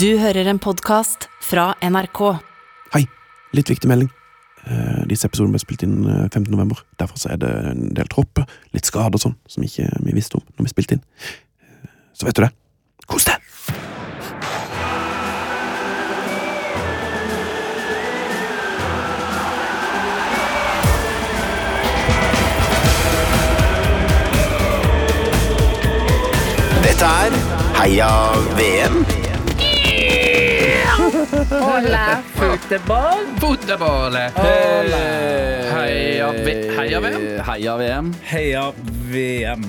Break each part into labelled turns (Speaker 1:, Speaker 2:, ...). Speaker 1: Du hører en podkast fra NRK.
Speaker 2: Hei, litt viktig melding. Eh, Disse episodene ble spilt inn eh, 15. november. Derfor så er det en del tropper, litt skader og sånn, som ikke vi visste om når vi spilte inn. Eh, Så vet du det. Kos deg!
Speaker 3: Dette er Heia VM.
Speaker 4: Hola, football.
Speaker 5: Fotball! Heia, V- heia VM!
Speaker 6: Heia VM.
Speaker 4: Heia VM.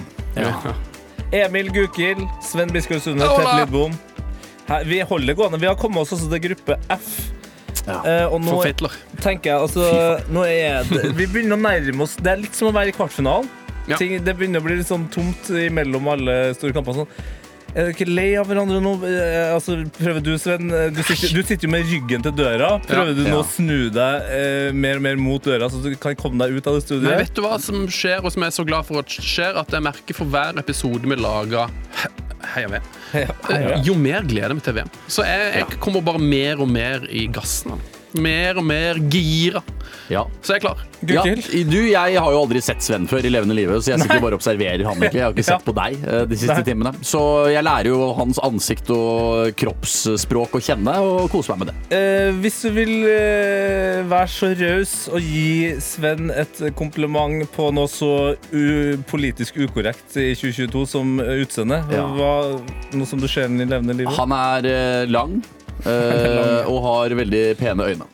Speaker 4: Emil Gukild, Sven Biskov Sunde,
Speaker 5: Hola.
Speaker 4: Tete Lidbom. Her- Vi holder gående. Vi har kommet oss også til gruppe F. Eh, og nå
Speaker 5: For fetler.
Speaker 4: tenker jeg altså, nå er det, Vi begynner å nærme oss Det er litt som å være i kvartfinalen.
Speaker 5: Ja.
Speaker 4: Ting, det begynner å bli litt sånn tomt imellom alle store kamper. og Sånn. Er dere ikke lei av hverandre nå? Eh, altså, prøver du, Sven eh, du sitter, du sitter jo med ryggen til døra. Prøver
Speaker 5: Ja.
Speaker 4: du nå
Speaker 6: Ja.
Speaker 4: å snu deg eh, mer og mer mot døra, så du kan komme deg ut av det studioet?
Speaker 5: Men vet du hva som skjer, og som jeg er så glad for at skjer, at jeg merker for hver episode vi lager he- Heia VM. Eh, Jo mer gleder jeg meg til VM. Så jeg, jeg kommer bare mer og mer i gassen. Mer og mer gira.
Speaker 6: Ja.
Speaker 5: Så jeg er klar.
Speaker 6: Ja,
Speaker 4: Gukild?
Speaker 6: du, jeg har jo aldri sett Sven før i levende live, så jeg sitter bare og observerer han. egentlig. Jeg har ikke sett på deg eh, de siste
Speaker 4: Nei.
Speaker 6: timene. Så jeg lærer jo hans ansikt og kroppsspråk å kjenne, og koser meg med det.
Speaker 4: Eh, hvis du vil eh, være så raus og gi Sven et kompliment på noe så u politisk ukorrekt i 2022 som utseende,
Speaker 6: Ja.
Speaker 4: hva, noe som du ser den i levende livet?
Speaker 6: Han er eh, lang eh, og har veldig pene øyne.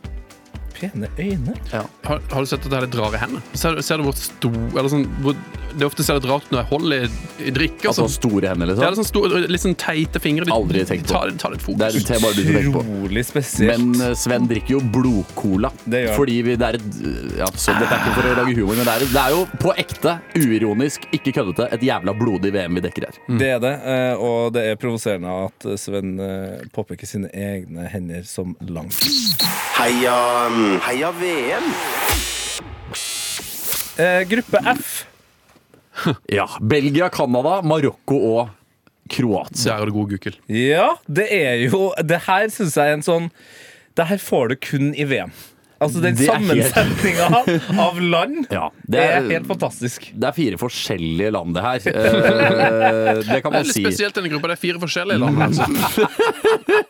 Speaker 4: Pene øyne.
Speaker 5: Har, har du sett at jeg har litt rare hender? Ser, ser du hvor stor eller sånn, hvor, Det er ofte ser litt rart ut når jeg holder i, i drikke. og
Speaker 6: Altså
Speaker 5: sånn.
Speaker 6: store hender,
Speaker 5: Det er litt
Speaker 6: liksom.
Speaker 5: sånn store, litt sånn teite fingre. De-
Speaker 6: Aldri tenkt på.
Speaker 5: Ta, ta litt fokus.
Speaker 6: Det er det er bare du som tenker på.
Speaker 4: Utrolig spesielt.
Speaker 6: Men eh, Sven drikker jo blodcola.
Speaker 4: Det gjør han.
Speaker 6: Fordi vi, det er et eh, ja, så Dette er ikke for å lage humor, men det er, det er jo på ekte, uironisk, ikke køddete, et jævla blodig VM vi dekker her.
Speaker 4: Det er det, eh, og det er provoserende at Sven eh, påpeker sine egne hender som langt.
Speaker 3: Heia, mm, heia VM.
Speaker 4: Eh, gruppe F.
Speaker 6: Ja. Belgia, Canada, Marokko og Kroatia.
Speaker 5: Der er du god, Gukild.
Speaker 4: Ja, det er jo Det her syns jeg er en sånn Det her får du kun i VM. Altså den
Speaker 6: Det er helt-
Speaker 4: sammensetninga av land
Speaker 6: Ja,
Speaker 4: det
Speaker 6: det
Speaker 4: er
Speaker 6: er-
Speaker 4: helt fantastisk.
Speaker 6: Det er fire forskjellige land, det her. Eh, Det
Speaker 5: Det
Speaker 6: kan man
Speaker 5: er litt
Speaker 6: si. Mm.
Speaker 5: spesielt denne gruppa. Det er fire forskjellige land. Altså.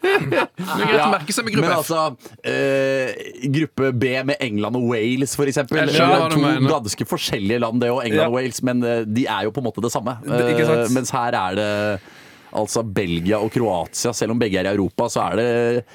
Speaker 5: Det er greit å merke seg med
Speaker 6: Men
Speaker 5: gruppe F.
Speaker 6: altså, eh, gruppe B med England og Wales, for eksempel.
Speaker 5: Jeg skjønner hva du
Speaker 6: to
Speaker 5: mener.
Speaker 6: ganske forskjellige land, det og England
Speaker 4: Ja.
Speaker 6: og Wales, men eh, de er jo på en måte det samme.
Speaker 4: Det- ikke sant?
Speaker 6: Eh, mens her er det altså Belgia og Kroatia, selv om begge er i Europa, så er det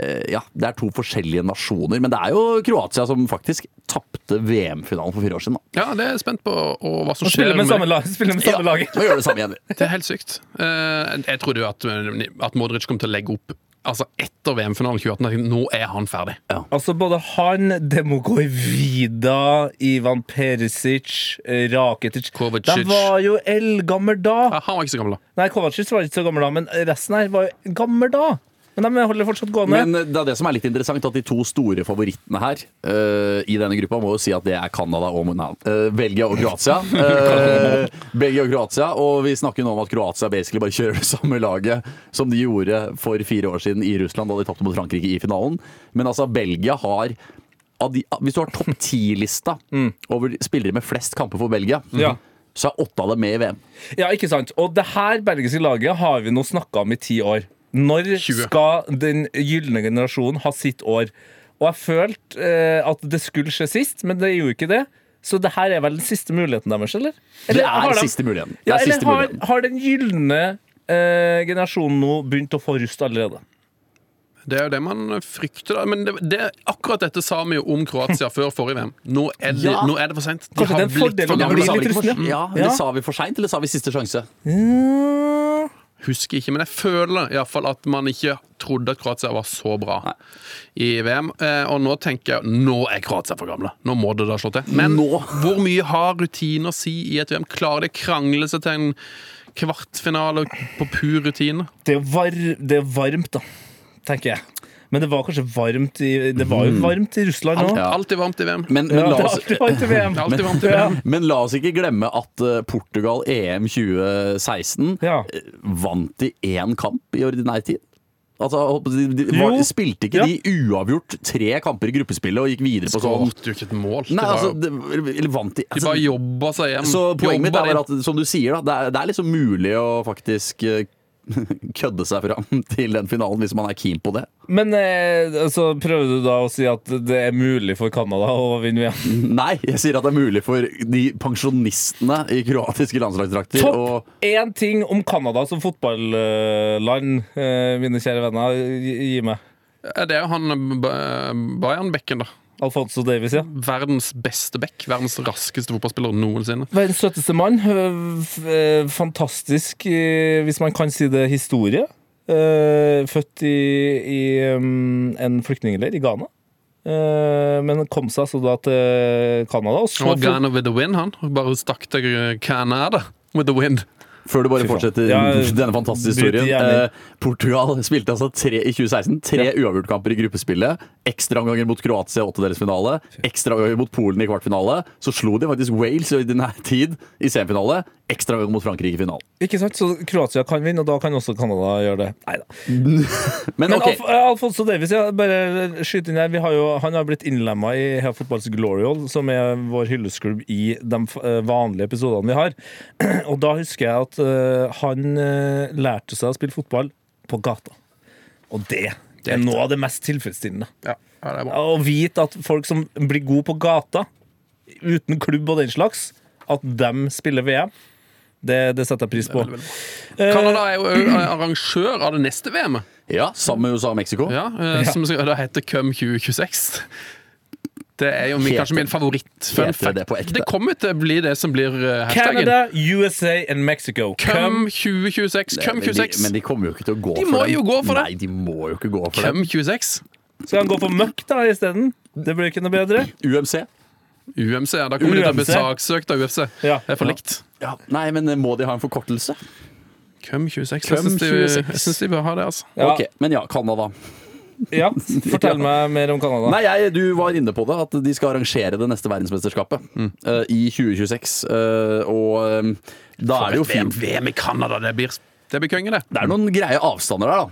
Speaker 6: eh, ja, det er to forskjellige nasjoner, men det er jo Kroatia som faktisk tapte VM-finalen for fire år siden. Da.
Speaker 5: Ja, det er jeg spent på og hva som
Speaker 4: Å spille
Speaker 5: skjer.
Speaker 4: med
Speaker 5: med
Speaker 4: samme,
Speaker 5: det.
Speaker 4: lag, spille med samme lag.
Speaker 6: Nå gjør det samme igjen.
Speaker 5: Det er helt sykt. Eh, jeg trodde jo at, at Modric kom til å legge opp altså etter VM-finalen 2018. at Nå er han ferdig.
Speaker 4: Altså både han, Demogoj Vida, Ivan Perisic, eh, Rakitic De
Speaker 5: Kovacic.
Speaker 4: var jo eldgammel da.
Speaker 5: Ja, han var ikke så gammel, da.
Speaker 4: Nei, Kovacic var ikke så gammel da, men resten her var jo gammel da. Men de holder fortsatt gående.
Speaker 6: Men eh, det er det som er litt interessant, at de to store favorittene her eh, i denne gruppa må jo si at det er Canada og Monan. eh, Belgia og Kroatia. Eh, Belgia og Kroatia, og vi snakker nå om at Kroatia basically bare kjører det samme laget som de gjorde for fire år siden i Russland, da de tapte mot Frankrike i finalen. Men altså, Belgia har av de, Hvis du har topp ti-lista over spillere med flest kamper for Belgia,
Speaker 4: Mm. Ja.
Speaker 6: så er åtte av dem med i VM.
Speaker 4: Ja, ikke sant? Og det her belgiske laget har vi nå snakka om i ti år. Når
Speaker 5: 20.
Speaker 4: skal den gylne generasjonen ha sitt år? Og jeg følte eh, at det skulle skje sist, men det gjorde ikke det. Så det her er vel den siste muligheten deres, eller?
Speaker 6: Det
Speaker 4: Eller har
Speaker 6: er
Speaker 4: de-
Speaker 6: siste muligheten. Det
Speaker 4: Ja,
Speaker 6: er
Speaker 4: eller
Speaker 6: siste
Speaker 4: har,
Speaker 6: muligheten.
Speaker 4: har den gylne eh, generasjonen nå begynt å få rust allerede?
Speaker 5: Det er jo det man frykter. da. Men det, det, akkurat dette sa vi jo om Kroatia før forrige VM. Nå er det,
Speaker 6: Ja.
Speaker 5: nå er det for seint.
Speaker 4: Kanskje det er en fordel å
Speaker 6: Ja,
Speaker 4: bli
Speaker 6: men
Speaker 4: blir
Speaker 6: sa vi
Speaker 4: litt
Speaker 6: ikke for-
Speaker 4: rustne.
Speaker 6: ja, men
Speaker 4: Ja.
Speaker 6: Sa vi for seint, eller sa vi siste sjanse?
Speaker 5: husker ikke, men jeg føler i hvert fall at man ikke trodde at Kroatia var så bra i VM. Eh, og nå tenker jeg nå er Kroatia for gamle. Nå må det da slå til. Men
Speaker 6: Nå.
Speaker 5: hvor mye har rutine å si i et VM? Klarer de å krangle seg til en kvartfinale på pur rutine?
Speaker 4: Det er, var, det er varmt, da, tenker jeg. Men det var kanskje varmt i Det var jo varmt i Russland nå.
Speaker 6: Ja.
Speaker 5: Alltid varmt i VM.
Speaker 6: Men, men
Speaker 4: Mm. Ja,
Speaker 6: la
Speaker 4: det er
Speaker 6: oss
Speaker 4: alltid varmt i VM.
Speaker 5: Det er alltid varmt i VM.
Speaker 6: Men la oss ikke glemme at eh, Portugal EM 2016
Speaker 4: Ja.
Speaker 6: eh, vant i én kamp i ordinær tid. Altså, jeg håper de, de, var,
Speaker 4: Jo.
Speaker 6: spilte ikke
Speaker 4: Ja.
Speaker 6: de uavgjort tre kamper i gruppespillet og gikk videre på sånn
Speaker 5: Skåret jo ikke et mål. det
Speaker 6: Nei,
Speaker 5: var,
Speaker 6: altså,
Speaker 5: jo-
Speaker 6: det, eller vant de,
Speaker 5: de
Speaker 6: altså,
Speaker 5: bare jobba seg hjem.
Speaker 6: Så poenget mitt
Speaker 5: Jobba
Speaker 6: er vel
Speaker 5: det-
Speaker 6: at som du sier, da, det er, det er liksom mulig å faktisk eh, kødde seg fram til den finalen hvis man er keen på det.
Speaker 4: Men eh, altså, prøver du da å si at det er mulig for Canada å vinne VM?
Speaker 6: Nei, jeg sier at det er mulig for de pensjonistene i kroatiske landslagsdrakter å
Speaker 4: Topp én ting om Canada som fotballand, eh, mine kjære venner. Gi, gi meg.
Speaker 5: Ja, Det er jo han eh, Ba- Bayern-bekken, da.
Speaker 4: Alfonso Davies, ja.
Speaker 5: Verdens beste back. Verdens raskeste fotballspiller noensinne.
Speaker 4: Verdens søteste mann. Øh, f- øh, Fantastisk, øh, hvis man kan si det, historie. Øh, Født i, i øhm, en flyktningleir i Ghana. Øh, Men kom seg altså da til Canada. Og så
Speaker 5: Han var Ghana with the wind, han. Og Bare stakk til Canada with the wind.
Speaker 6: Før du bare
Speaker 4: Fy faen.
Speaker 6: fortsetter
Speaker 4: Ja,
Speaker 6: denne fantastiske
Speaker 4: bryt
Speaker 6: historien.
Speaker 4: gjerne inn.
Speaker 6: Eh, Portugal spilte altså tre, i 2016 tre uavgjortkamper i gruppespillet. Ekstraomganger mot Kroatia i åttedelsfinale. Ekstraomganger mot Polen i kvartfinale. Så slo de faktisk Wales i denne tid i semifinale. Ekstraomganger mot Frankrike i finalen.
Speaker 4: Ikke sant? Så Kroatia kan vinne, og da kan også Canada gjøre det. Neida.
Speaker 6: Men
Speaker 4: Men
Speaker 6: ok,
Speaker 4: Alf Alfonso Davies, ja, bare skyt inn her. Vi har jo, han har blitt innlemma i Heia Fotballs Glorial, som er vår hyllesklubb i de f- eh, vanlige episodene vi har. Og da husker jeg at eh, han eh, lærte seg å spille fotball på gata. Og det er noe av det mest tilfredsstillende.
Speaker 5: Ja, ja, det er bra.
Speaker 4: Å vite at folk som blir gode på gata, uten klubb og den slags, at dem spiller VM. Det, det setter jeg pris på.
Speaker 5: Canada er jo ø- arrangør av det neste VM-et.
Speaker 6: ja, sammen med USA og Mexico.
Speaker 5: Ja, ø, som skal- det heter Cum 2026. Det er jo min,
Speaker 6: Heter-
Speaker 5: kanskje min favoritt.
Speaker 6: heter det på ekte?
Speaker 5: det kommer til å bli det som blir ø, hashtaggen.
Speaker 4: Canada, USA and Mexico. Come
Speaker 5: Cum 2026. Cum
Speaker 6: Men de,
Speaker 5: 26.
Speaker 6: men de kommer jo ikke til å gå
Speaker 5: De
Speaker 6: for
Speaker 5: må
Speaker 6: dem.
Speaker 5: jo gå for det.
Speaker 6: Nei, de må jo ikke gå for
Speaker 5: Cum 26.
Speaker 4: Skal han gå for møkk da isteden? Det blir ikke noe bedre.
Speaker 6: det. UMC.
Speaker 5: UMC, ja. Da kommer de til å bli
Speaker 4: UMC.
Speaker 5: saksøkt av UFC.
Speaker 4: Ja.
Speaker 5: Det er for likt.
Speaker 6: Ja. Nei, men eh, må de ha en forkortelse?
Speaker 5: Cum 26.
Speaker 6: Cum
Speaker 5: Jeg syns de,
Speaker 6: 26.
Speaker 5: jeg synes de bør ha det, altså.
Speaker 4: Ja,
Speaker 6: Ok, Men ja, Canada.
Speaker 4: ja. Fortell meg mer om Canada.
Speaker 6: Nei, jeg, Du var inne på det, at de skal arrangere det neste verdensmesterskapet eh, i 2026. eh, og eh, da er det jo fint.
Speaker 5: VM i Canada, det blir, det blir konge, det.
Speaker 6: Det er noen greie avstander der, da.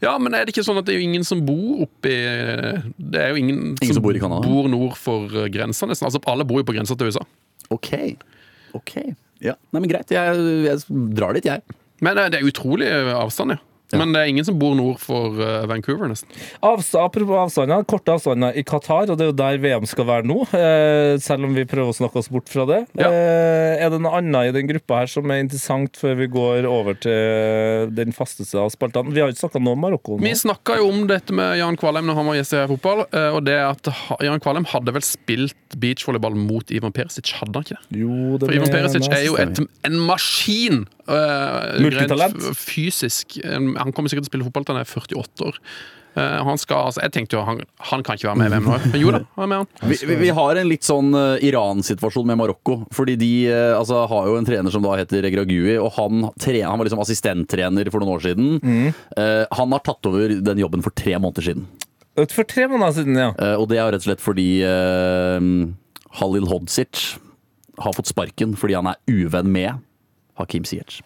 Speaker 5: Ja, men er det ikke sånn at det er jo ingen som bor oppi Det er jo ingen,
Speaker 6: som bor i Canada.
Speaker 5: bor nord for eh, grensa, nesten. Altså, alle bor jo på grensa til USA.
Speaker 6: Ok. ok ja. Nei, men Greit, jeg, jeg drar dit, jeg.
Speaker 5: Men eh, det er utrolig eh, avstand, ja. Men det er ingen som bor nord for eh, Vancouver, nesten.
Speaker 4: Avsta, apropos avstander, korte avstander i Qatar, og det er jo der VM skal være nå. eh, Selv om vi prøver å snakke oss bort fra det.
Speaker 5: Ja.
Speaker 4: Eh, Er det noe annet i den gruppa her som er interessant før vi går over til den fasteste av spaltene? Vi har ikke snakka noe om Marokko
Speaker 5: Vi
Speaker 4: nå.
Speaker 5: snakka jo om dette med Jan Kvalheim når han var gjest i Heia fotball. eh, Og det at ha- Jan Kvalheim hadde vel spilt beachvolleyball mot Ivan Perisic, hadde han ikke det?
Speaker 4: Jo, det
Speaker 5: For Ivan
Speaker 4: mener
Speaker 5: Perisic er
Speaker 4: jeg.
Speaker 5: jo et, en maskin! eh,
Speaker 4: Multitalent.
Speaker 5: rent f- fysisk. En- Han kommer sikkert til å spille fotball til han er 48 år. Eh, han skal, altså, jeg tenkte jo han, han kan ikke være med i VM nå, men jo da, han er med, han.
Speaker 6: Vi, vi, vi har en litt sånn eh, Iran-situasjon med Marokko. Fordi de eh, altså, har jo en trener som da heter Gragui, og han, tre, han var liksom assistenttrener for noen år siden. Eh, han har tatt over den jobben for tre måneder siden.
Speaker 4: For tre måneder siden, ja.
Speaker 6: Eh, og det er jo rett og slett fordi eh, Halil Hodzic har fått sparken fordi han er uvenn med Hakim Ziyech.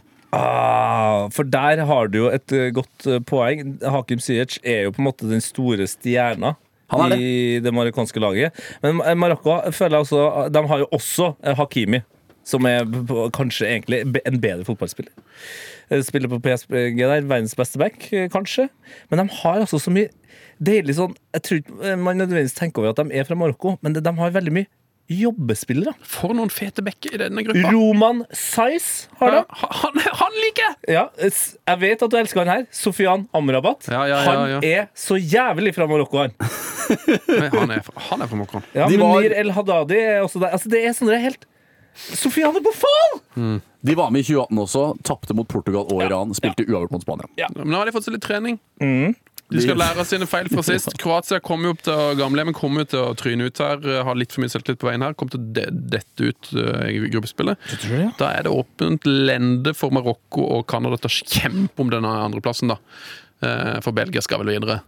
Speaker 4: Ah, for der har du jo et eh, godt eh, poeng. Hakim Ziyech er jo på en måte den store stjerna.
Speaker 6: Han er det.
Speaker 4: I det marokkanske laget. Men eh, Marokko føler jeg også De har jo også eh, Hakimi, som er p- p- kanskje egentlig be- en bedre fotballspiller. Eh, Spiller på PSG der, verdens beste back, eh, kanskje. Men de har altså så mye deilig sånn Jeg tror ikke eh, man nødvendigvis tenker over at de er fra Marokko, men de de har veldig mye jobbespillere.
Speaker 5: For noen fete bekker i denne gruppa!
Speaker 4: Roman Saiz har de.
Speaker 5: Ja, han, han liker jeg!
Speaker 4: Ja, s- jeg vet at du elsker han her. Sofian Amrabat.
Speaker 5: Ja, ja, ja, ja.
Speaker 4: Han er så jævlig fra Marokko, han.
Speaker 5: Nei, Han er, fra- han er fra Mokron.
Speaker 4: Ja,
Speaker 6: De var-
Speaker 4: Munir El Haddadi er også der. Altså, det er sånn det er helt Sofian er på fall!
Speaker 6: De var med i 2018 også, tapte mot Portugal og Iran, spilte uavgjort mot Spania.
Speaker 5: Men nå har de fått seg litt trening.
Speaker 4: Mm.
Speaker 5: De skal lære av sine feil fra sist. Kroatia kommer jo opp til å- gamlehjemmet kommer jo til å tryne ut her. eh, Har litt for mye selvtillit på veien her. Kommer til å de- dette ut eh, i gruppespillet. Da er det åpent lende for Marokko og Canada til å kjempe om denne andreplassen, da. Eh, For Belgia skal vel videre.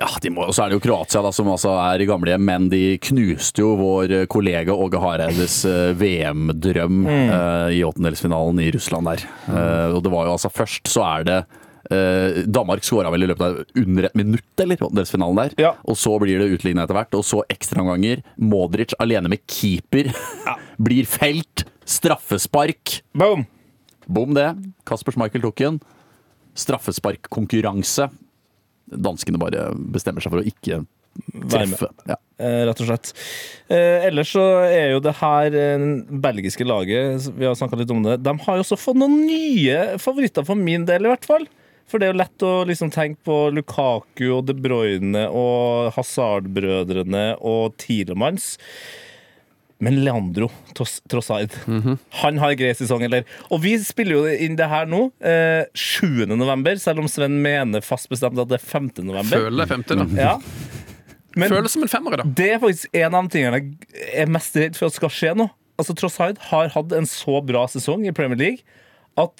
Speaker 6: Ja, de må, Og så er det jo Kroatia, da, som altså er i gamlehjem, men de knuste jo vår eh, kollega Åge Hareides eh, VM-drøm eh, i åttendelsfinalen i Russland der. Eh, og det var jo altså først så er det eh, Danmark skåra vel i løpet av under et minutt, eller? Deres finalen der.
Speaker 4: Ja.
Speaker 6: Og så blir det utligna etter hvert, og så ekstraomganger. Modric alene med keeper blir felt. Straffespark.
Speaker 4: Boom!
Speaker 6: Bom det. Kasper Schmeichel tok den. Straffesparkkonkurranse. Danskene bare bestemmer seg for å ikke
Speaker 4: Vær med.
Speaker 6: treffe. Ja.
Speaker 4: Eh, rett og slett. Eh, ellers så er jo det her eh, belgiske laget, vi har snakka litt om det, de har jo også fått noen nye favoritter for min del, i hvert fall. For det er jo lett å liksom tenke på Lukaku og De Bruyne og Hazard-brødrene og Tilemanns. Men Leandro Tos- Trossard, han har en grei sesong, eller? Og vi spiller jo inn det her nå, eh, 7. november, selv om Sven mener fast bestemt at det er 5. november.
Speaker 5: Føler deg femte, da.
Speaker 4: Ja. Men-
Speaker 5: Føler deg som en femmer, da.
Speaker 4: det er faktisk en av de tingene jeg er mest redd for at skal skje nå. Altså, Trossard har hatt en så bra sesong i Premier League at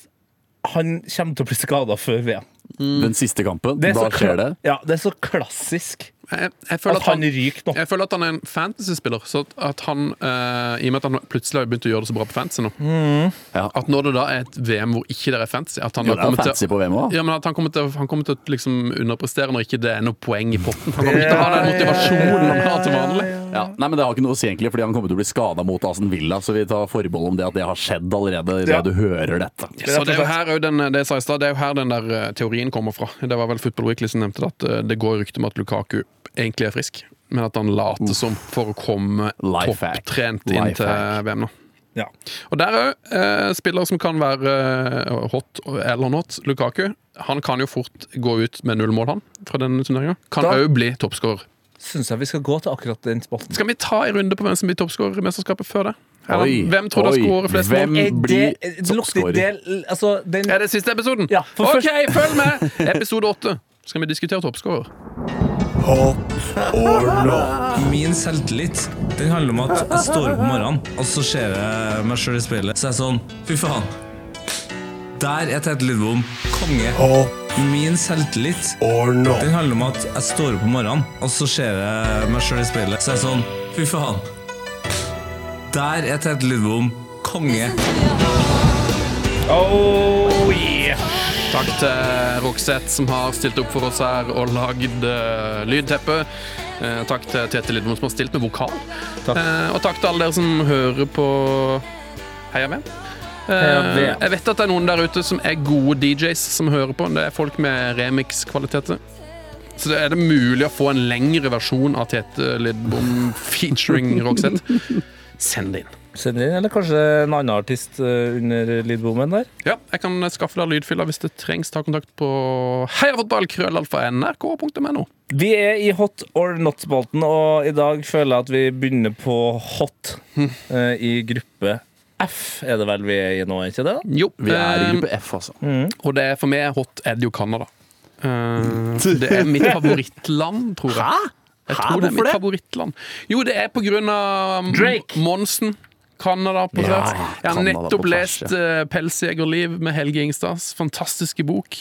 Speaker 4: han kommer til å bli skada før VM.
Speaker 6: Den siste kampen,
Speaker 4: Det er
Speaker 6: da
Speaker 4: så
Speaker 6: skjer
Speaker 4: kla-
Speaker 6: det.
Speaker 4: Ja, det er så klassisk
Speaker 5: Jeg, jeg føler
Speaker 4: at
Speaker 5: at
Speaker 4: han
Speaker 5: han
Speaker 4: ryker nå.
Speaker 5: jeg føler at han er en fantasy-spiller. Så at- at han, eh, I og med at han plutselig har begynt å gjøre det så bra på fantasy nå
Speaker 6: Ja.
Speaker 5: At når det da er et VM hvor ikke det er fantasy At han,
Speaker 6: Jo,
Speaker 5: da
Speaker 6: det er jo
Speaker 5: kommer
Speaker 6: fancy
Speaker 5: til,
Speaker 6: på VM òg.
Speaker 5: ja, men at han kommer til, han kommer til å liksom underprestere når ikke det er noe poeng i potten. Han kommer ikke til å ha den motivasjonen han har til vanlig.
Speaker 6: Ja. Nei, men Det har ikke noe å si egentlig, fordi han kommer til å bli skada mot Asen Villa, så vi tar forbehold om det at det har skjedd allerede idet
Speaker 4: Ja.
Speaker 6: du hører dette.
Speaker 5: Så det er jo her også den, det jeg sa i stad, det er jo her den der eh, teorien kommer fra. Det var vel Football Weekly som nevnte det, at eh, det går rykter om at Lukaku egentlig er frisk, men at han later som for å komme
Speaker 6: Lifehack.
Speaker 5: topptrent inn til
Speaker 6: Lifehack.
Speaker 5: VM nå.
Speaker 4: Ja.
Speaker 5: Og der er jo eh, spillere som kan være eh, hot eller not. Lukaku han kan jo fort gå ut med null mål, han, fra denne turneringa. Kan
Speaker 4: Da-
Speaker 5: òg bli toppskårer.
Speaker 4: Syns jeg vi skal gå til akkurat den spalten.
Speaker 5: Skal vi ta en runde på hvem som blir toppskårer i mesterskapet før det? Eller,
Speaker 6: Oi,
Speaker 5: hvem tror dere
Speaker 6: oi,
Speaker 5: skårer flest mål?
Speaker 6: hvem-
Speaker 4: Er
Speaker 6: blir
Speaker 4: det, det lukter
Speaker 6: toppscorer.
Speaker 4: del Altså, den
Speaker 5: Er det siste episoden?
Speaker 4: Ja, for
Speaker 5: ok,
Speaker 4: først-
Speaker 5: følg med! Episode åtte. Skal vi diskutere toppskårer?
Speaker 7: Min selvtillit den handler om at jeg står opp om morgenen, og så ser jeg meg sjøl i speilet. Så er jeg sånn Fy faen. Der er Tete Lidbom konge. Min selvtillit den handler om at jeg står opp om morgenen, og så ser jeg meg sjøl i speilet. Så er jeg sånn Fy faen. Der er Tete Lidbom konge.
Speaker 4: Oh, yeah.
Speaker 5: Takk til Roxette, som har stilt opp for oss her og lagd eh, lydteppe. Eh, takk til Tete Lidbom, som har stilt med vokal.
Speaker 4: Takk.
Speaker 5: Eh, og takk til alle dere som hører på Heia VM. Eh,
Speaker 4: Heia VM.
Speaker 5: jeg vet at det er noen der ute som er gode DJs som hører på. Det er folk med remix-kvaliteter. Så det er det mulig å få en lengre versjon av Tete Lidbom featuring Roxette? Send det inn.
Speaker 4: Send inn, eller kanskje en annen artist eh, under lydbommen der?
Speaker 5: Ja, jeg kan skaffe deg lydfyller hvis det trengs. Ta kontakt på heiafotballkrøllalfa.nrk.no.
Speaker 4: Vi er i hot or not-spalten, og i dag føler jeg at vi begynner på hot eh, i gruppe F, er det vel vi er i nå, er ikke det? da?
Speaker 5: Jo,
Speaker 6: Vi er i
Speaker 5: eh,
Speaker 6: gruppe F, altså.
Speaker 5: og det er for meg hot Eddie og Canada. Eh, det er mitt favorittland, tror jeg. Jeg
Speaker 6: Hæ?
Speaker 5: tror det er
Speaker 6: Hvorfor
Speaker 5: mitt
Speaker 6: det?
Speaker 5: favorittland. Jo, det er på grunn av um,
Speaker 4: Drake.
Speaker 5: Monsen. Canada på
Speaker 6: Ja,
Speaker 5: tvers. Jeg har
Speaker 6: Canada på
Speaker 5: nettopp
Speaker 6: tvers,
Speaker 5: lest eh, 'Pelsjegerliv' med Helge Ingstads fantastiske bok.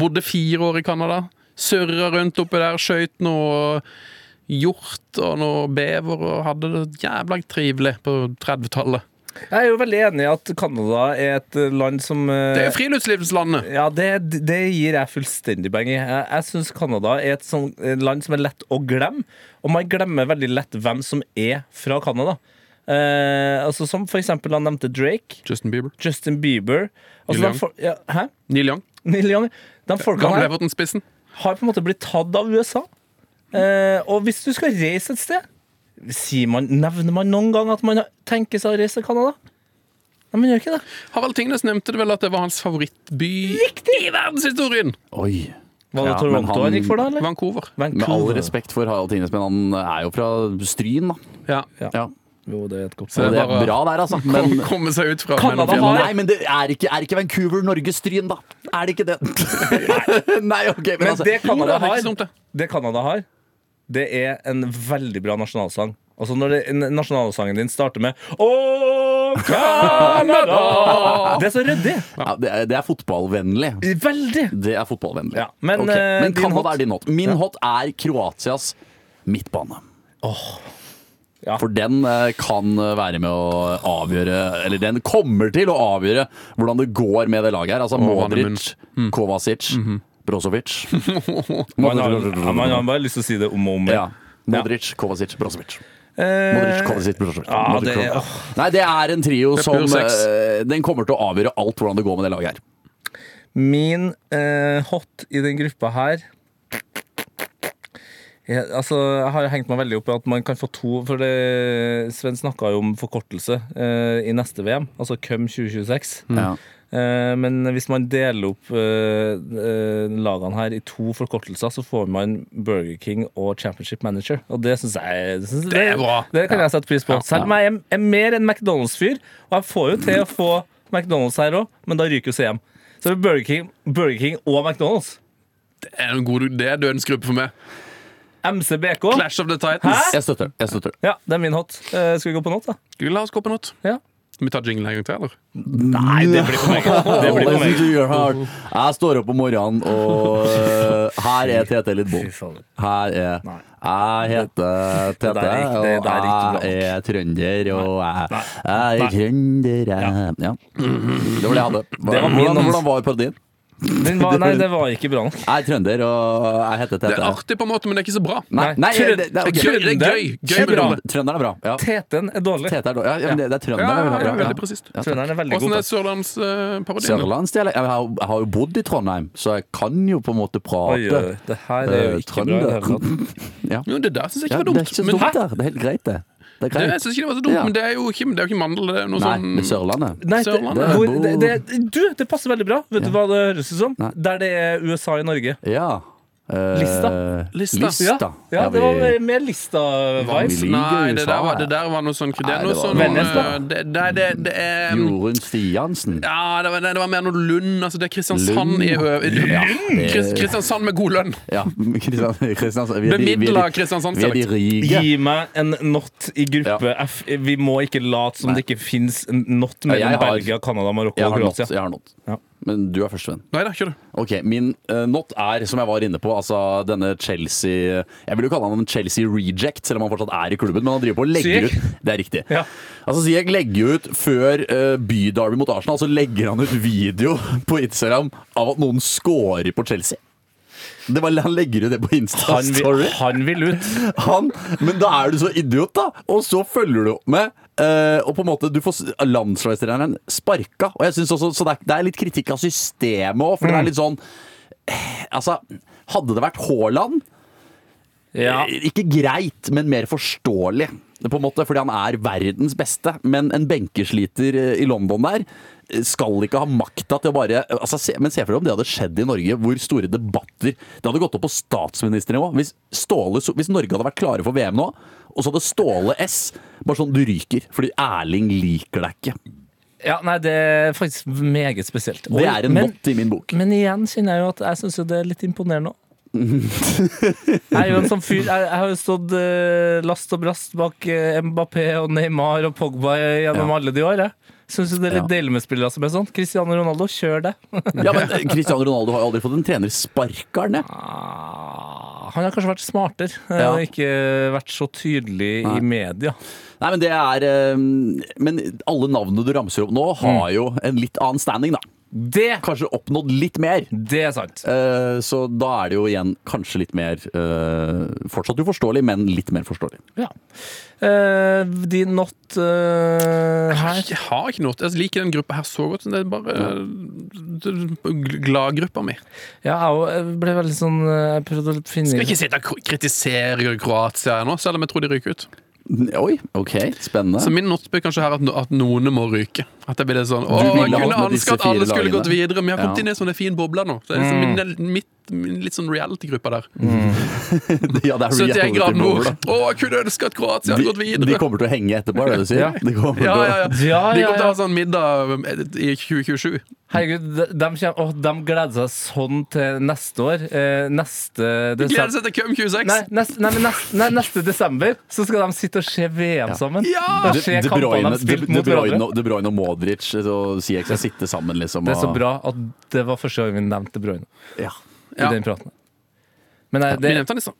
Speaker 5: Bodde fire år i Canada. Surra rundt oppi der, skøyt noe hjort og noe bever og hadde det jævla trivelig på 30-tallet.
Speaker 4: Jeg er jo veldig enig i at Canada er et eh, land som eh,
Speaker 5: Det er jo friluftslivslandet!
Speaker 4: ja, det, det gir jeg fullstendig beng i. Jeg, jeg syns Canada er et sånn eh, land som er lett å glemme. Og man glemmer veldig lett hvem som er fra Canada. Eh, altså, som for eksempel han nevnte Drake,
Speaker 5: Justin Bieber.
Speaker 4: Justin Bieber altså,
Speaker 5: Neil
Speaker 4: de fol- ja, Hæ?
Speaker 5: Neil Young.
Speaker 4: Neil Young. De folkene her
Speaker 5: Gamleverten-spissen.
Speaker 4: har på en måte blitt tatt av USA. Eh, og hvis du skal reise et sted, sier man, nevner man noen gang at man tenker seg å reise til Canada? Nei, man gjør ikke det.
Speaker 5: Harald Tingnes nevnte det vel at det var hans favorittby i verdenshistorien!
Speaker 6: Oi.
Speaker 4: Var det
Speaker 6: Ja, men
Speaker 4: Toronto
Speaker 6: han-
Speaker 4: han, gikk for, da? eller?
Speaker 5: Vancouver.
Speaker 6: Med all
Speaker 4: Vancouver.
Speaker 6: respekt for Harald Tines, men han er jo fra Stryn, da.
Speaker 5: Ja.
Speaker 6: Ja.
Speaker 4: Jo, det er et godt
Speaker 5: Så
Speaker 6: Og det er
Speaker 5: bare-
Speaker 6: bra der, altså. Men,
Speaker 5: Kom- Komme seg ut fra
Speaker 4: Canada
Speaker 5: mellomfjellene.
Speaker 4: har-
Speaker 6: nei, men det er, ikke, er ikke Vancouver Norges Stryn, da? Er det ikke det? nei, ok, men,
Speaker 4: Men
Speaker 6: altså,
Speaker 4: det
Speaker 5: Jo,
Speaker 4: Canada
Speaker 5: det er ikke så dumt,
Speaker 4: har,
Speaker 5: det.
Speaker 4: det Canada har, det er en veldig bra nasjonalsang. Altså Når det, n- nasjonalsangen din starter med Å, Canada! Det er så ryddig.
Speaker 6: ja, det, er, det er fotballvennlig.
Speaker 4: Veldig.
Speaker 6: Det er fotballvennlig.
Speaker 4: Ja, men,
Speaker 6: Ok,
Speaker 4: eh,
Speaker 6: men
Speaker 4: din
Speaker 6: Canada
Speaker 4: hot?
Speaker 6: er din hot. Min hot er Kroatias midtbane.
Speaker 4: Ja.
Speaker 6: For den eh, kan være med å avgjøre Eller den kommer til å avgjøre hvordan det går med det laget her. Altså Modric,
Speaker 4: Mm.
Speaker 6: Kovacic,
Speaker 4: Mhm.
Speaker 6: Brozovic.
Speaker 4: Man har, man har bare lyst til å si det om og om.
Speaker 6: Ja. Modric, Kovacic, Brozovic.
Speaker 4: Eh,
Speaker 6: Modric, Kovacic, Brozovic.
Speaker 4: ja,
Speaker 6: Modric,
Speaker 4: det-
Speaker 6: Kovacic. Nei, det er en trio
Speaker 5: Det er
Speaker 6: som
Speaker 5: pur sex.
Speaker 6: eh, Den kommer til å avgjøre alt hvordan det går med det laget her.
Speaker 4: Min eh, hot i den gruppa her jeg, altså, jeg har hengt meg veldig opp i at man kan få to For det, Sven snakka jo om forkortelse eh, i neste VM, altså Cum 2026.
Speaker 6: Ja.
Speaker 4: Eh, men hvis man deler opp eh, eh, lagene her i to forkortelser, så får man Burger King og Championship Manager. Og det syns jeg det, synes
Speaker 5: Det er bra.
Speaker 4: Det kan jeg sette pris på. Selv om jeg er, er mer en McDonald's-fyr, og jeg får jo til å få McDonald's her òg, men da ryker jo CM. Så det er Burger King, Burger King og McDonald's.
Speaker 5: Det er en god det er dødens gruppe for meg.
Speaker 4: MCBK.
Speaker 5: Clash of the Titans.
Speaker 6: Jeg støtter. Jeg støtter.
Speaker 4: Ja, det er min hot. Eh, skal vi gå på not, da?
Speaker 5: Skal vi la oss gå på noe?
Speaker 4: Ja.
Speaker 5: Skal vi ta jingle en gang til, eller?
Speaker 6: Nei, det
Speaker 4: blir for meget. Det blir for meget.
Speaker 6: Jeg står opp om morgenen, og eh, her er Tete Lidbom.
Speaker 4: Fy faen.
Speaker 6: Her er
Speaker 4: Nei.
Speaker 6: Jeg heter
Speaker 4: Det
Speaker 6: Tete,
Speaker 4: der er ikke-
Speaker 6: og
Speaker 4: det der er ikke bra nok.
Speaker 6: jeg er trønder, og jeg, jeg
Speaker 4: Nei.
Speaker 6: er trønder jeg. Ja. Det var det jeg hadde.
Speaker 4: var min
Speaker 6: Hvordan,
Speaker 4: dans.
Speaker 6: hvordan var parodien?
Speaker 4: Den var, nei, det var ikke bra nok.
Speaker 6: Jeg er trønder, og jeg heter
Speaker 5: Det er
Speaker 6: Tete.
Speaker 5: artig på en måte, men det er ikke så bra.
Speaker 6: Nei, nei,
Speaker 4: Trønd-
Speaker 6: det, det er ok.
Speaker 5: Kødder, det er gøy. Gøy med
Speaker 6: Bra.
Speaker 5: noe.
Speaker 6: Trønderen er bra. Ja.
Speaker 4: Teten er dårlig.
Speaker 6: Tete er dårlig. Ja, ja, men det, det er
Speaker 5: Ja,
Speaker 6: trønderen. er
Speaker 5: ja,
Speaker 6: veldig
Speaker 5: ja,
Speaker 6: bra.
Speaker 5: veldig presist.
Speaker 6: Ja, takk.
Speaker 4: Trønderen er veldig
Speaker 5: Åssen
Speaker 4: god.
Speaker 5: er sørlandsparodien?
Speaker 6: Sørlandsdialekt. Jeg, har- jeg har jo bodd i Trondheim, så jeg kan jo på en måte prate
Speaker 4: Oi, oi, oi, det her er jo
Speaker 6: eh,
Speaker 4: ikke bra. i det hele tatt.
Speaker 6: ja.
Speaker 5: Jo, det der syns jeg
Speaker 6: ja,
Speaker 5: ikke var
Speaker 6: det er
Speaker 5: dumt.
Speaker 6: ikke så
Speaker 5: Men
Speaker 6: dumt
Speaker 5: hæ?
Speaker 6: der. Det er helt greit, det. Det er
Speaker 5: Det, jeg
Speaker 6: greit.
Speaker 5: synes ikke det var så dumt,
Speaker 6: Ja.
Speaker 5: men det er jo ikke, det er jo ikke mandel. Det er noe
Speaker 6: Nei,
Speaker 5: sånn
Speaker 6: men Sørlandet.
Speaker 4: Nei, det,
Speaker 5: Sørlandet.
Speaker 4: hvor, det, det, du, det passer veldig bra. Vet du hva det høres ut som?
Speaker 6: Nei.
Speaker 4: Der det er USA i Norge.
Speaker 6: Ja. Eh,
Speaker 4: Lista.
Speaker 5: Lista.
Speaker 6: Lista.
Speaker 4: Ja, ja,
Speaker 6: vi-
Speaker 4: det var eh, mer Lista-vibes.
Speaker 6: Vi liker
Speaker 5: Nei, det
Speaker 6: USA,
Speaker 5: der var,
Speaker 6: ja.
Speaker 5: det der var noe sånn Det
Speaker 6: Nei,
Speaker 5: er noe
Speaker 6: det var-
Speaker 5: sånn
Speaker 4: Vennnes, da.
Speaker 5: øh, det, det, det, det er
Speaker 6: Jorunn Stiansen.
Speaker 5: Ja, det var, nei, det var mer noe Lund. Altså, det er Kristiansand
Speaker 6: Lund.
Speaker 5: i ø-
Speaker 6: Ja, det-
Speaker 5: Kris- Kristiansand med god lønn.
Speaker 6: Ja, Kristian- Kristiansand. Vi er de- vi er de-
Speaker 5: Bemidla Kristiansand.
Speaker 6: Vi er de rike.
Speaker 4: Gi meg en not i gruppe F. Vi må ikke late som det ikke fins not
Speaker 6: Ja,
Speaker 4: mellom
Speaker 6: jeg har-
Speaker 4: Belgia, Canada, Marokko
Speaker 6: Jeg
Speaker 4: og
Speaker 6: har nått.
Speaker 4: Kroatia.
Speaker 6: Jeg har nått.
Speaker 4: Ja.
Speaker 6: Men du er først, Sven.
Speaker 5: Nei da, ikke du.
Speaker 6: Ok, Min uh, not er, som jeg var inne på, altså denne Chelsea Jeg vil jo kalle han en Chelsea reject, selv om han fortsatt er i klubben. Men han driver på og legger
Speaker 4: Ziyech?
Speaker 6: ut Det er riktig.
Speaker 4: Ja.
Speaker 6: Altså Ziyech legger jo ut før uh, byderby mot Arsenal, så legger han ut video på Instagram av at noen scorer på Chelsea. Det var, han legger ut det på
Speaker 4: Han,
Speaker 6: Insta-story.
Speaker 4: vil, han vil ut.
Speaker 6: Han, men da er du så idiot, da! Og så følger du opp med eh, Og på en måte, du får s- landslagstreneren sparka. Og jeg synes også, Så det er, det er litt kritikk av systemet òg, for det er litt sånn eh, Altså, hadde det vært Haaland
Speaker 4: Ja.
Speaker 6: eh, Ikke greit, men mer forståelig. På en måte, Fordi han er verdens beste, men en benkesliter eh, i London der eh, skal ikke ha makta til å bare altså, se, Men se for deg om det hadde skjedd i Norge, hvor store debatter Det hadde gått opp på statsministernivå. Hvis, Ståle, So- hvis Norge hadde vært klare for VM nå, og så hadde Ståle S bare sånn Du ryker, fordi Erling liker deg ikke.
Speaker 4: ja, nei, det er faktisk meget spesielt.
Speaker 6: Det er en
Speaker 4: men,
Speaker 6: not i min bok.
Speaker 4: men igjen kjenner jeg jo at jeg syns jo det er litt imponerende òg. jeg er jo en sånn fyr Jeg, jeg har jo stått eh, last og brast bak eh, Mbappé og Neymar og Pogba gjennom
Speaker 6: Ja.
Speaker 4: alle de år. Jeg syns jo det er litt
Speaker 6: Ja.
Speaker 4: deilig med spillere som er sånn. Cristiano Ronaldo, kjør det.
Speaker 6: Ja, men eh, Cristiano Ronaldo har jo aldri fått en trener sparka ned.
Speaker 4: Ah, Han har kanskje vært smartere eh,
Speaker 6: Ja.
Speaker 4: og ikke vært så tydelig
Speaker 6: Nei.
Speaker 4: i media.
Speaker 6: Nei, men det er eh, Men alle navnene du ramser opp nå, har jo en litt annen standing, da.
Speaker 4: Det,
Speaker 6: Kanskje oppnådd litt mer.
Speaker 4: det er sant.
Speaker 6: Eh, Så da er det jo igjen kanskje litt mer eh, Fortsatt uforståelig, men litt mer forståelig.
Speaker 4: Ja. Eh, din not eh, her
Speaker 5: Jeg har ikke noe. Jeg liker den gruppa her så godt. men Det er bare øh, gladgruppa mi.
Speaker 4: Ja, jeg òg, jeg ble veldig sånn eh, Jeg prøvde å finne
Speaker 5: Skal ikke sitte og kro- kritisere Kroatia her nå, selv om jeg tror de ryker ut.
Speaker 6: Oi, ok, spennende.
Speaker 5: Så min not blir kanskje her at, no- at noen må ryke. At det blir det sånn Å,
Speaker 6: ville
Speaker 5: jeg kunne
Speaker 6: hatt med disse
Speaker 5: ønske at alle
Speaker 6: fire
Speaker 5: skulle
Speaker 6: lagene».
Speaker 5: gått videre, men jeg har kommet
Speaker 6: Ja. Mm.
Speaker 5: inn i en sånn fin boble nå. Så det er liksom min, mitt, min litt sånn reality-gruppa der.
Speaker 6: ja, det er
Speaker 5: 71
Speaker 6: Mm. reality
Speaker 5: grader
Speaker 6: over,
Speaker 5: nord.
Speaker 6: da.
Speaker 5: Å, jeg kunne ønske at Kroatia hadde gått
Speaker 6: De,
Speaker 5: videre.
Speaker 6: de kommer til å henge etterpå, er det det du sier?
Speaker 4: Ja.
Speaker 6: De kommer til
Speaker 5: ja,
Speaker 6: å-
Speaker 5: ja, ja.
Speaker 4: Ja,
Speaker 5: De
Speaker 4: ja,
Speaker 5: kommer til å
Speaker 4: ja.
Speaker 5: ha sånn middag um, i 2027.
Speaker 4: Herregud, de, dem kjem- åh, dem gleder seg sånn til neste år. Eh, neste
Speaker 5: Gleder
Speaker 4: desember
Speaker 5: seg til Cum 26.
Speaker 4: Nei, neste, nei, men neste, nei, neste desember så skal de sitte og se VM sammen.
Speaker 5: Ja!
Speaker 4: Og se
Speaker 6: De, de,
Speaker 4: kampene
Speaker 6: Bruyne,
Speaker 4: de
Speaker 6: de,
Speaker 4: spilte
Speaker 6: de,
Speaker 4: mot
Speaker 6: Bruyne,
Speaker 4: hverandre.
Speaker 6: og- de Bruyne og Modric eh, og Ziyech skal sitte sammen, liksom.
Speaker 4: Det er så
Speaker 6: og-
Speaker 4: bra at det var første gang vi nevnte De Bruyne.
Speaker 6: Ja.
Speaker 4: i
Speaker 5: Ja.
Speaker 4: den praten. Men nei,
Speaker 5: Vi
Speaker 4: det
Speaker 5: nevnte han i stad.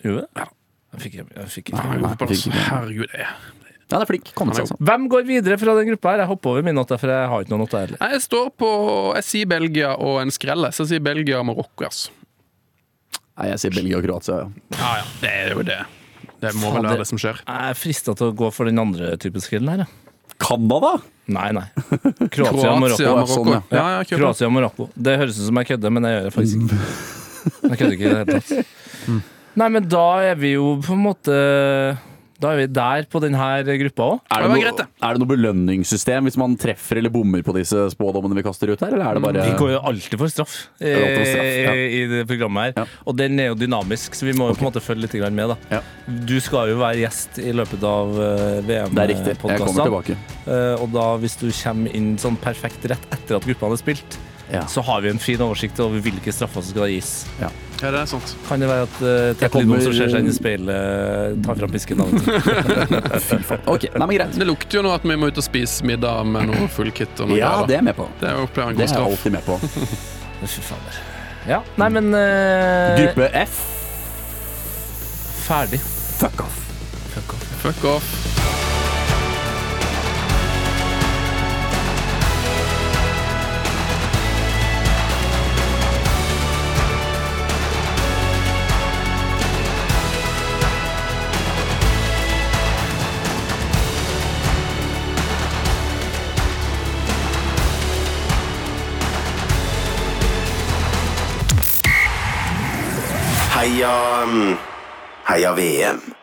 Speaker 4: Gjorde vi det? Jeg fikk, jeg fikk
Speaker 5: sånn, Nei,
Speaker 4: ikke.
Speaker 5: jeg går på plass.
Speaker 6: fikk ikke.
Speaker 5: Herregud. Jeg.
Speaker 6: Ja, det er flink. Komme seg, altså.
Speaker 4: Hvem går videre fra den gruppa her? Jeg hopper over min note, for jeg har ikke noen note heller.
Speaker 5: Nei, jeg står på Jeg sier Belgia og en skrelle. Så jeg sier Belgia og Marokko, altså.
Speaker 6: Nei, jeg sier Belgia og Kroatia. ja.
Speaker 5: Ja, ja. Det er jo det. Det må vel
Speaker 4: Fader.
Speaker 5: være det som skjer.
Speaker 4: Jeg er frista til å gå for den andre typen skrillen her. jeg.
Speaker 6: Canada?
Speaker 4: Nei, nei. Kroatia og Marokko.
Speaker 5: Kroatia og
Speaker 6: Sånn,
Speaker 5: Marokko.
Speaker 6: ja.
Speaker 5: Ja, ja, kjør på.
Speaker 4: Kroatia og Marokko. Det høres ut som jeg kødder, men jeg gjør det faktisk ikke. Jeg kødder ikke i det hele tatt.
Speaker 6: Mm.
Speaker 4: Nei, men da er vi jo på en måte Da er vi der på denne gruppa òg.
Speaker 5: det
Speaker 6: Er det,
Speaker 5: var
Speaker 6: noe,
Speaker 5: greit, det.
Speaker 6: er det noe belønningssystem hvis man treffer eller bommer på disse spådommene vi kaster ut her, eller er det bare
Speaker 4: Vi går jo alltid for straff, eh,
Speaker 6: går alltid for straff, ja.
Speaker 4: i det programmet her. Og den er jo dynamisk, så vi må jo på en måte følge litt grann med. da
Speaker 6: Ja.
Speaker 4: Du skal jo være gjest i løpet av eh,
Speaker 6: Det er riktig. Jeg kommer
Speaker 4: VM-podkastene.
Speaker 6: tilbake.
Speaker 4: Eh, Og da, hvis du kommer inn sånn perfekt rett etter at gruppene er spilt,
Speaker 6: Ja.
Speaker 4: så har vi en fin oversikt over hvilke straffer som skal gis.
Speaker 5: Ja, det er sant.
Speaker 4: Kan det være at uh,
Speaker 6: Jeg
Speaker 4: Tete
Speaker 6: kommer-
Speaker 4: Lidbom som ser seg inn i speilet, eh, tar fram pisken? da?
Speaker 6: Ok, nei, men greit.
Speaker 5: Det lukter jo nå at vi må ut og spise middag med noe full kit. Og noe greier,
Speaker 6: Ja,
Speaker 5: da.
Speaker 6: det er jeg med på.
Speaker 5: det er jo pleier en god
Speaker 6: Det er jeg
Speaker 5: straff.
Speaker 6: alltid med på.
Speaker 4: Fy fader. Ja, nei, men eh,
Speaker 6: Gruppe F.
Speaker 4: Ferdig.
Speaker 6: Fuck off.
Speaker 5: Fuck off.
Speaker 3: Heia Heia VM.